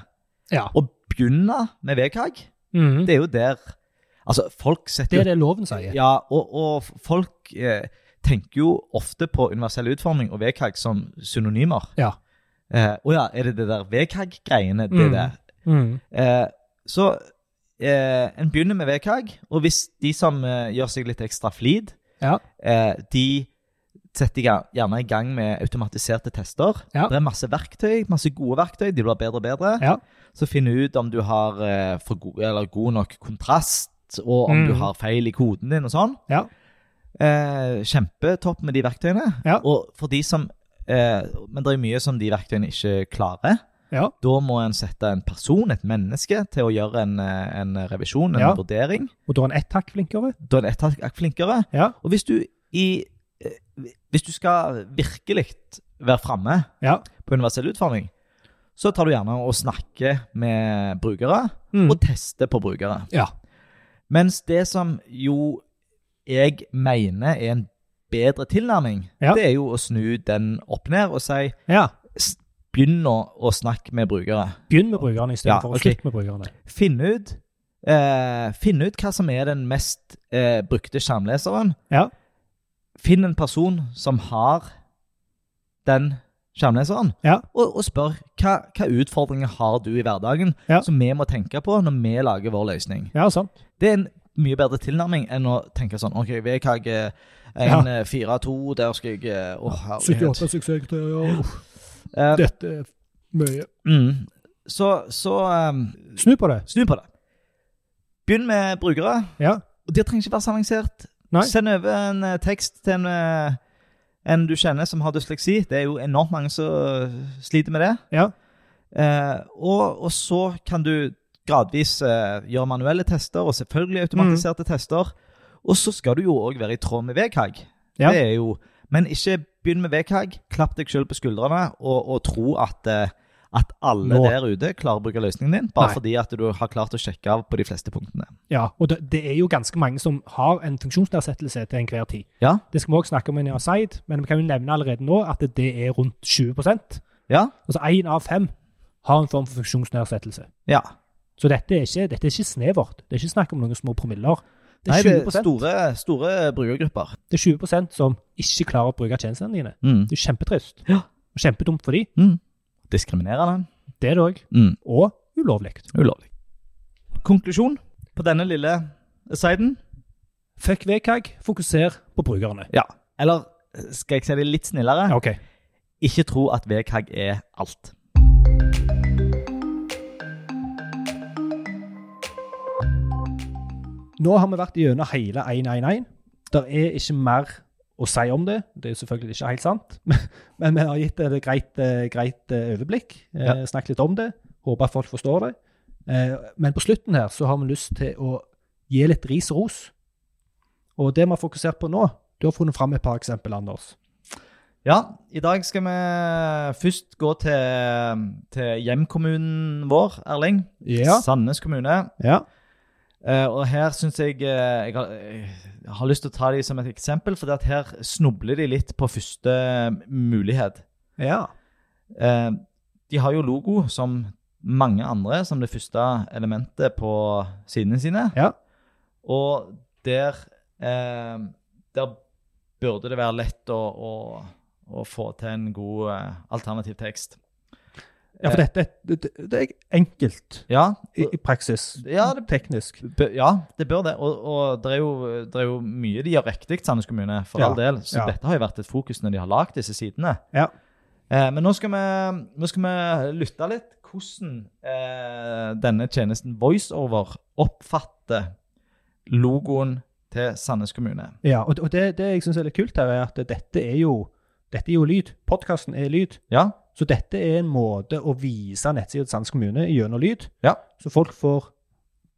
[SPEAKER 2] Ja.
[SPEAKER 1] å begynne med VKG.
[SPEAKER 2] Mm.
[SPEAKER 1] Det er jo der Altså, folk
[SPEAKER 2] Det
[SPEAKER 1] setter
[SPEAKER 2] er det loven sier.
[SPEAKER 1] Ja, og, og folk eh, tenker jo ofte på universell utforming og VKG som synonymer.
[SPEAKER 2] Ja.
[SPEAKER 1] Eh, å ja, er det det der VKG-greiene? Det
[SPEAKER 2] Mm.
[SPEAKER 1] der. Eh, så eh, en begynner med VKG, og hvis de som eh, gjør seg litt ekstra flid,
[SPEAKER 2] Ja.
[SPEAKER 1] eh, de setter ga- gjerne i gang med automatiserte tester.
[SPEAKER 2] Ja.
[SPEAKER 1] Det er masse verktøy, masse gode verktøy, de blir bedre og bedre.
[SPEAKER 2] Ja.
[SPEAKER 1] Så finne ut om du har eh, for god, eller god nok kontrast, og om
[SPEAKER 2] Mm.
[SPEAKER 1] du har feil i koden din og sånn.
[SPEAKER 2] Ja.
[SPEAKER 1] Eh, kjempetopp med de verktøyene.
[SPEAKER 2] Ja.
[SPEAKER 1] Og for de som, eh, men det er mye som de verktøyene ikke klarer,
[SPEAKER 2] Ja.
[SPEAKER 1] da må en sette en person, et menneske, til å gjøre en, eh, en revisjon, en
[SPEAKER 2] Ja.
[SPEAKER 1] vurdering.
[SPEAKER 2] Og da er en ett hakk flinkere.
[SPEAKER 1] Da er en ett hakk flinkere.
[SPEAKER 2] Ja.
[SPEAKER 1] Og hvis du, i, eh, hvis du skal virkelig være framme
[SPEAKER 2] Ja.
[SPEAKER 1] på universell utforming, så tar du gjerne og snakker med brukere,
[SPEAKER 2] Mm.
[SPEAKER 1] og tester på brukere.
[SPEAKER 2] Ja.
[SPEAKER 1] Mens det som jo jeg mener er en bedre tilnærming,
[SPEAKER 2] Ja.
[SPEAKER 1] det er jo å snu den opp ned og si
[SPEAKER 2] ja.
[SPEAKER 1] s- begynn å, å snakke med brukere.
[SPEAKER 2] Begynn med brukerne
[SPEAKER 1] Ja,
[SPEAKER 2] istedenfor
[SPEAKER 1] ok.
[SPEAKER 2] å slutte med brukerne.
[SPEAKER 1] finne ut eh, Finne ut hva som er den mest eh, brukte skjermleseren.
[SPEAKER 2] Ja.
[SPEAKER 1] Finn en person som har den skjermleseren,
[SPEAKER 2] Ja.
[SPEAKER 1] og, og spør hva, hva utfordringer har du i hverdagen
[SPEAKER 2] Ja.
[SPEAKER 1] som vi må tenke på når vi lager vår løsning.
[SPEAKER 2] Ja, sant.
[SPEAKER 1] Det er en mye bedre tilnærming enn å tenke sånn OK, VKG en
[SPEAKER 2] Ja.
[SPEAKER 1] eh, 4-2, der skal jeg eh, Å, herlighet.
[SPEAKER 2] 78 suksesskriteria, uff,
[SPEAKER 1] Eh,
[SPEAKER 2] dette er mye.
[SPEAKER 1] mm, så så eh,
[SPEAKER 2] Snu på det.
[SPEAKER 1] snu på det. Begynn med brukere.
[SPEAKER 2] Ja.
[SPEAKER 1] Og det trenger ikke være så avansert.
[SPEAKER 2] Nei.
[SPEAKER 1] Send over en eh, tekst til en, eh, en du kjenner som har dysleksi. Det er jo enormt mange som eh, sliter med det.
[SPEAKER 2] Ja.
[SPEAKER 1] Eh, og, og så kan du gradvis eh, gjøre manuelle tester, og
[SPEAKER 2] Mm.
[SPEAKER 1] selvfølgelig automatiserte tester. Og så skal du jo òg være i tråd med VKG.
[SPEAKER 2] Ja.
[SPEAKER 1] Det er jo, men ikke begynn med VKG. Klapp deg sjøl på skuldrene og, og tro at, eh, at alle
[SPEAKER 2] Nå.
[SPEAKER 1] der ute klarer å bruke løsningen din, bare
[SPEAKER 2] Nei.
[SPEAKER 1] fordi at du har klart å sjekke av på de fleste punktene.
[SPEAKER 2] ja. Og det, det er jo ganske mange som har en funksjonsnedsettelse til enhver tid.
[SPEAKER 1] Ja.
[SPEAKER 2] Det skal vi også snakke om i Nea Seid, men vi kan jo nevne allerede nå at det er rundt 20 Altså
[SPEAKER 1] Ja.
[SPEAKER 2] én av fem har en form for funksjonsnedsettelse.
[SPEAKER 1] ja.
[SPEAKER 2] Så dette er ikke, dette er ikke snevert. Det er ikke snakk om noen små promiller. Det
[SPEAKER 1] Nei,
[SPEAKER 2] er
[SPEAKER 1] det
[SPEAKER 2] 20,
[SPEAKER 1] er store, store brukergrupper.
[SPEAKER 2] det er 20 som ikke klarer å bruke tjenestene dine.
[SPEAKER 1] Mm.
[SPEAKER 2] Det er kjempetrist.
[SPEAKER 1] Ja.
[SPEAKER 2] Og kjempedumt for de.
[SPEAKER 1] Mm. Diskriminerende.
[SPEAKER 2] Det er det òg.
[SPEAKER 1] Mm.
[SPEAKER 2] Og ulovlig.
[SPEAKER 1] Ulovlig. Konklusjon på denne lille siden.
[SPEAKER 2] Fuck VKG, fokuser på brukerne.
[SPEAKER 1] Ja. Eller skal jeg si det litt snillere?
[SPEAKER 2] Ja, OK.
[SPEAKER 1] Ikke tro at VKG er alt.
[SPEAKER 2] Nå har vi vært gjennom hele 111. Det er ikke mer å si om det. Det er selvfølgelig ikke helt sant, men vi har gitt det et greit, eh, greit eh, overblikk. eh,
[SPEAKER 1] Ja.
[SPEAKER 2] Snakket litt om det. Håper at folk forstår det. Eh, Men på slutten her så har vi lyst til å gi litt ris og ros. Og det vi har fokusert på nå Du har funnet fram et par eksempel, Anders.
[SPEAKER 1] Ja, i dag skal vi først gå til, til hjemkommunen vår, Erling. Sandnes kommune.
[SPEAKER 2] ja.
[SPEAKER 1] Eh, og her syns jeg eh, jeg har, jeg har lyst til å ta dem som et eksempel, for det at her snubler de litt på første mulighet.
[SPEAKER 2] ja.
[SPEAKER 1] Eh, de har jo logo som mange andre som det første elementet på sidene sine.
[SPEAKER 2] Ja.
[SPEAKER 1] Og der, eh, der burde det være lett å, å, å få til en god eh, alternativ tekst.
[SPEAKER 2] Ja, for dette det, det- det er enkelt
[SPEAKER 1] Ja,
[SPEAKER 2] i, i praksis.
[SPEAKER 1] Ja, det-
[SPEAKER 2] Teknisk.
[SPEAKER 1] Bø- Ja, det bør det. Og, og det, er jo, det er jo mye de gjør riktig, Sandnes kommune, for
[SPEAKER 2] Ja,
[SPEAKER 1] all del. Så
[SPEAKER 2] ja.
[SPEAKER 1] dette har jo vært et fokus når de har lagd disse sidene.
[SPEAKER 2] Ja.
[SPEAKER 1] Eh, men nå skal, vi, nå skal vi lytte litt hvordan eh, denne tjenesten VoiceOver oppfatter logoen til Sandnes kommune.
[SPEAKER 2] Ja, og, og det, det jeg syns er litt kult her, er at dette er jo, dette er jo lyd. Podkasten er lyd.
[SPEAKER 1] Ja,
[SPEAKER 2] Så dette er en måte å vise nettsida til Sands kommune gjennom lyd.
[SPEAKER 1] Ja.
[SPEAKER 2] Så folk får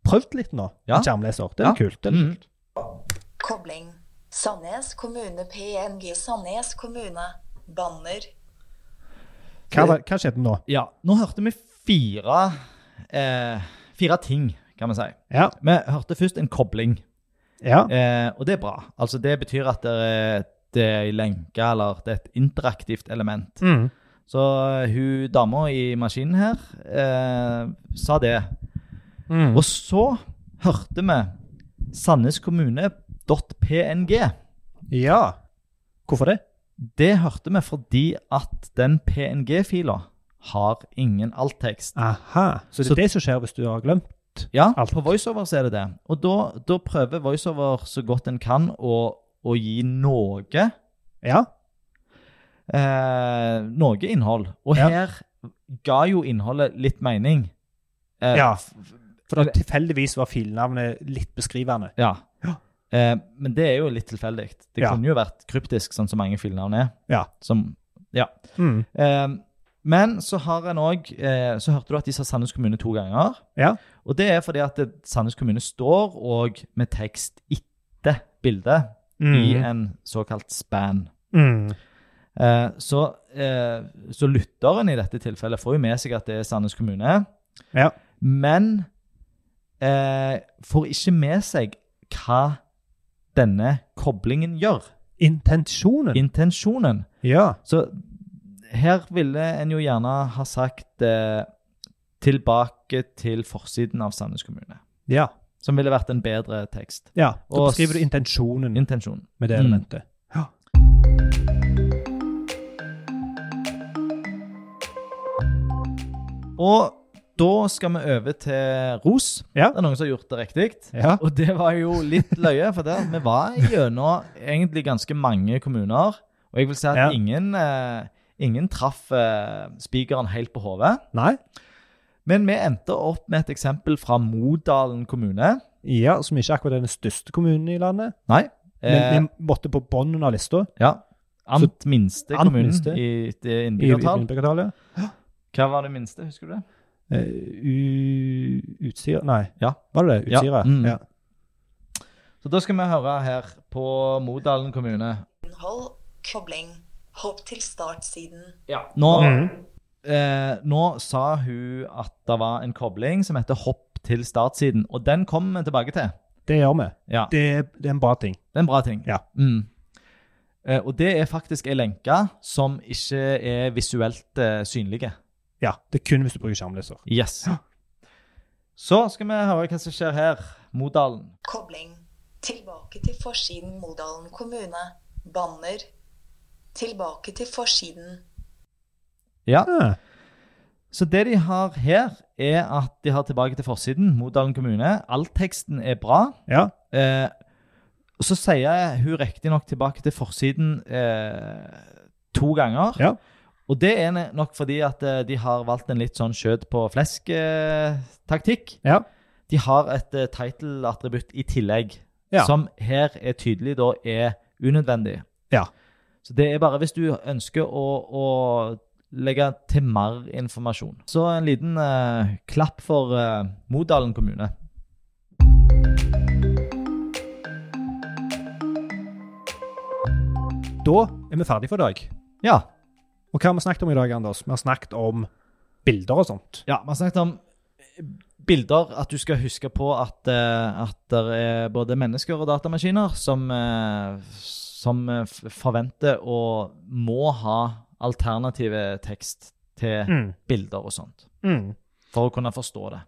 [SPEAKER 2] prøvd litt nå,
[SPEAKER 1] Ja.
[SPEAKER 2] med skjermleser. Det er
[SPEAKER 1] Ja.
[SPEAKER 2] kult. Det er litt
[SPEAKER 1] Mm.
[SPEAKER 2] kult.
[SPEAKER 3] Kobling. Sandnes kommune PNG Sandnes kommune. Banner.
[SPEAKER 2] Hva, var- hva skjedde nå?
[SPEAKER 1] ja. Nå hørte vi fire, eh, fire ting, kan vi si.
[SPEAKER 2] Ja.
[SPEAKER 1] Vi hørte først en kobling.
[SPEAKER 2] ja.
[SPEAKER 1] Eh, og det er bra. Altså, det betyr at det er, det er en lenke, eller det er et interaktivt element.
[SPEAKER 2] Mm.
[SPEAKER 1] Så eh, hun dama i maskinen her eh, sa det.
[SPEAKER 2] Mm.
[SPEAKER 1] Og så hørte vi sandneskommune.png.
[SPEAKER 2] Ja. Hvorfor det?
[SPEAKER 1] Det hørte vi fordi at den PNG-fila har ingen alttekst.
[SPEAKER 2] Aha. Så det
[SPEAKER 1] Så-
[SPEAKER 2] er det som skjer hvis du har glemt?
[SPEAKER 1] Ja,
[SPEAKER 2] Alt.
[SPEAKER 1] på voiceover så er det det. Og da, da prøver voiceover så godt en kan å, å gi noe
[SPEAKER 2] Ja.
[SPEAKER 1] eh, noe innhold. Og
[SPEAKER 2] Ja.
[SPEAKER 1] her ga jo innholdet litt mening. Eh,
[SPEAKER 2] ja. For da tilfeldigvis var filnavnet litt beskrivende.
[SPEAKER 1] ja.
[SPEAKER 2] Ja.
[SPEAKER 1] Eh, men det er jo litt tilfeldig. Det
[SPEAKER 2] Ja.
[SPEAKER 1] kunne jo vært kryptisk, sånn som mange filnavn er.
[SPEAKER 2] Ja.
[SPEAKER 1] Som, ja.
[SPEAKER 2] Mm.
[SPEAKER 1] Eh, men så har en òg eh, Så hørte du at de sa Sandnes kommune to ganger.
[SPEAKER 2] Ja.
[SPEAKER 1] Og det er fordi at det- Sandnes kommune står òg med tekst etter bildet i
[SPEAKER 2] Mm.
[SPEAKER 1] en såkalt span.
[SPEAKER 2] Mm.
[SPEAKER 1] Eh, så, eh, så lytteren i dette tilfellet får jo med seg at det er Sandnes kommune,
[SPEAKER 2] Ja.
[SPEAKER 1] men eh, får ikke med seg hva denne koblingen gjør.
[SPEAKER 2] Intensjonen.
[SPEAKER 1] Intensjonen.
[SPEAKER 2] ja.
[SPEAKER 1] Så her ville en jo gjerne ha sagt eh, tilbake til forsiden av Sandnes kommune,
[SPEAKER 2] Ja.
[SPEAKER 1] som ville vært en bedre tekst.
[SPEAKER 2] ja. Da
[SPEAKER 1] Og s-
[SPEAKER 2] beskriver du intensjonen
[SPEAKER 1] Intensjonen.
[SPEAKER 2] med det
[SPEAKER 1] Mm.
[SPEAKER 2] elementet. Ja.
[SPEAKER 1] Og da skal vi over til ros.
[SPEAKER 2] Ja.
[SPEAKER 1] Det er noen som har gjort det riktig.
[SPEAKER 2] Ja.
[SPEAKER 1] Og det var jo litt løye, for det, vi var gjennom egentlig ganske mange kommuner. Og jeg vil si at
[SPEAKER 2] Ja.
[SPEAKER 1] ingen, eh, ingen traff eh, spikeren helt på hodet.
[SPEAKER 2] Nei.
[SPEAKER 1] Men vi endte opp med et eksempel fra Modalen kommune.
[SPEAKER 2] Ja, som ikke akkurat er den største kommunen i landet.
[SPEAKER 1] Nei. Eh,
[SPEAKER 2] Men vi måtte på bunnen av lista.
[SPEAKER 1] ja. Amt minste
[SPEAKER 2] Amt
[SPEAKER 1] kommunen
[SPEAKER 2] minste.
[SPEAKER 1] i det
[SPEAKER 2] I i
[SPEAKER 1] innbyggertall.
[SPEAKER 2] innbyggertallet.
[SPEAKER 1] Hva var det minste, husker du det?
[SPEAKER 2] Eh, u- Utsira Nei,
[SPEAKER 1] Ja.
[SPEAKER 2] var det det?
[SPEAKER 1] Ja,
[SPEAKER 2] Utsira.
[SPEAKER 1] mm.
[SPEAKER 2] Ja.
[SPEAKER 1] Så da skal vi høre her på Modalen kommune.
[SPEAKER 3] Innhold. Kobling. Hopp til startsiden.
[SPEAKER 1] Ja. Nå,
[SPEAKER 2] Mhm.
[SPEAKER 1] eh, nå sa hun at det var en kobling som heter hopp til startsiden, og den kommer vi tilbake til.
[SPEAKER 2] Det gjør vi.
[SPEAKER 1] Ja,
[SPEAKER 2] Det, er- det er en bra ting.
[SPEAKER 1] det er en bra ting.
[SPEAKER 2] Ja.
[SPEAKER 1] Mm. Eh, og det er faktisk ei lenke som ikke er visuelt eh, synlige.
[SPEAKER 2] Ja, Det er kun hvis du bruker skjermleser.
[SPEAKER 1] Yes.
[SPEAKER 2] Ja.
[SPEAKER 1] Så skal vi høre hva som skjer her. Modalen.
[SPEAKER 3] Kobling. Tilbake til forsiden Modalen kommune. Banner. Tilbake til forsiden.
[SPEAKER 1] Ja.
[SPEAKER 2] Ah,
[SPEAKER 1] Så det de har her, er at de har tilbake til forsiden, Modalen kommune. All teksten er bra.
[SPEAKER 2] ja.
[SPEAKER 1] Eh, og så sier hun riktignok tilbake til forsiden eh, to ganger.
[SPEAKER 2] Ja.
[SPEAKER 1] Og det er nok fordi at eh, de har valgt en litt sånn skjøt på flesk-taktikk.
[SPEAKER 2] Ja.
[SPEAKER 1] De har et eh, title-attributt i tillegg,
[SPEAKER 2] Ja.
[SPEAKER 1] som her er tydelig da er unødvendig.
[SPEAKER 2] Ja.
[SPEAKER 1] Så det er bare hvis du ønsker å, å legge til mer informasjon. Så en liten eh, klapp for eh, Modalen kommune.
[SPEAKER 2] Da er vi ferdige for i dag.
[SPEAKER 1] Ja,
[SPEAKER 2] Og hva har vi snakket om i dag, Anders? Vi har snakket om bilder og sånt.
[SPEAKER 1] Ja, vi har snakket om eh, bilder, at du skal huske på at, eh, at det er både mennesker og datamaskiner som, eh, som eh, f- forventer og må ha alternative tekst til
[SPEAKER 2] Mm.
[SPEAKER 1] bilder og sånt,
[SPEAKER 2] Mm.
[SPEAKER 1] for å kunne forstå det.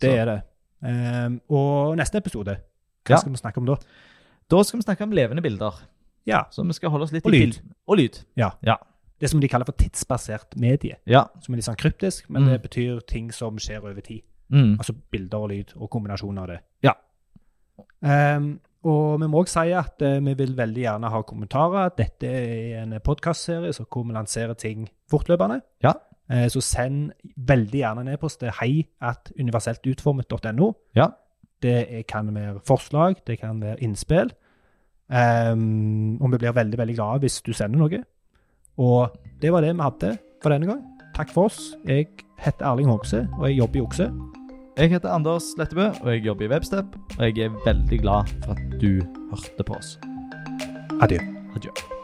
[SPEAKER 2] Det
[SPEAKER 1] Så.
[SPEAKER 2] er det. Ehm, og neste episode, hva
[SPEAKER 1] Ja.
[SPEAKER 2] skal vi snakke om da?
[SPEAKER 1] Da skal vi snakke om levende bilder.
[SPEAKER 2] Ja.
[SPEAKER 1] Så vi skal holde oss litt
[SPEAKER 2] Og
[SPEAKER 1] i
[SPEAKER 2] lyd.
[SPEAKER 1] bild- Og lyd.
[SPEAKER 2] Det som de kaller for tidsbasert medie.
[SPEAKER 1] Ja.
[SPEAKER 2] Som er litt sånn kryptisk, men
[SPEAKER 1] Mm.
[SPEAKER 2] det betyr ting som skjer over tid.
[SPEAKER 1] Mm.
[SPEAKER 2] Altså bilder og lyd, og kombinasjoner av det.
[SPEAKER 1] Ja.
[SPEAKER 2] Ehm, og vi må også si at eh, vi vil veldig gjerne ha kommentarer. Dette er en podkastserie så hvor vi lanserer ting fortløpende.
[SPEAKER 1] Ja.
[SPEAKER 2] Eh, så send veldig gjerne en e-post til heiatuniverseltutformet.no.
[SPEAKER 1] Ja.
[SPEAKER 2] Det er- kan være forslag, det kan være innspill. Ehm, og vi blir veldig veldig glade hvis du sender noe. Og det var det vi hadde for denne gang. Takk for oss. Jeg heter Erling Homse, og jeg jobber i Okse.
[SPEAKER 1] Jeg heter Anders Lettebø, og jeg jobber i Webstep, og jeg er veldig glad for at du hørte på oss.
[SPEAKER 2] Adjø.
[SPEAKER 1] Adjø.